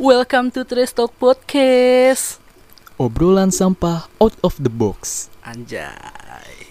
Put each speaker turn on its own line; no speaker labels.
Welcome to Trash Talk Podcast.
Obrolan sampah out of the box.
Anjay.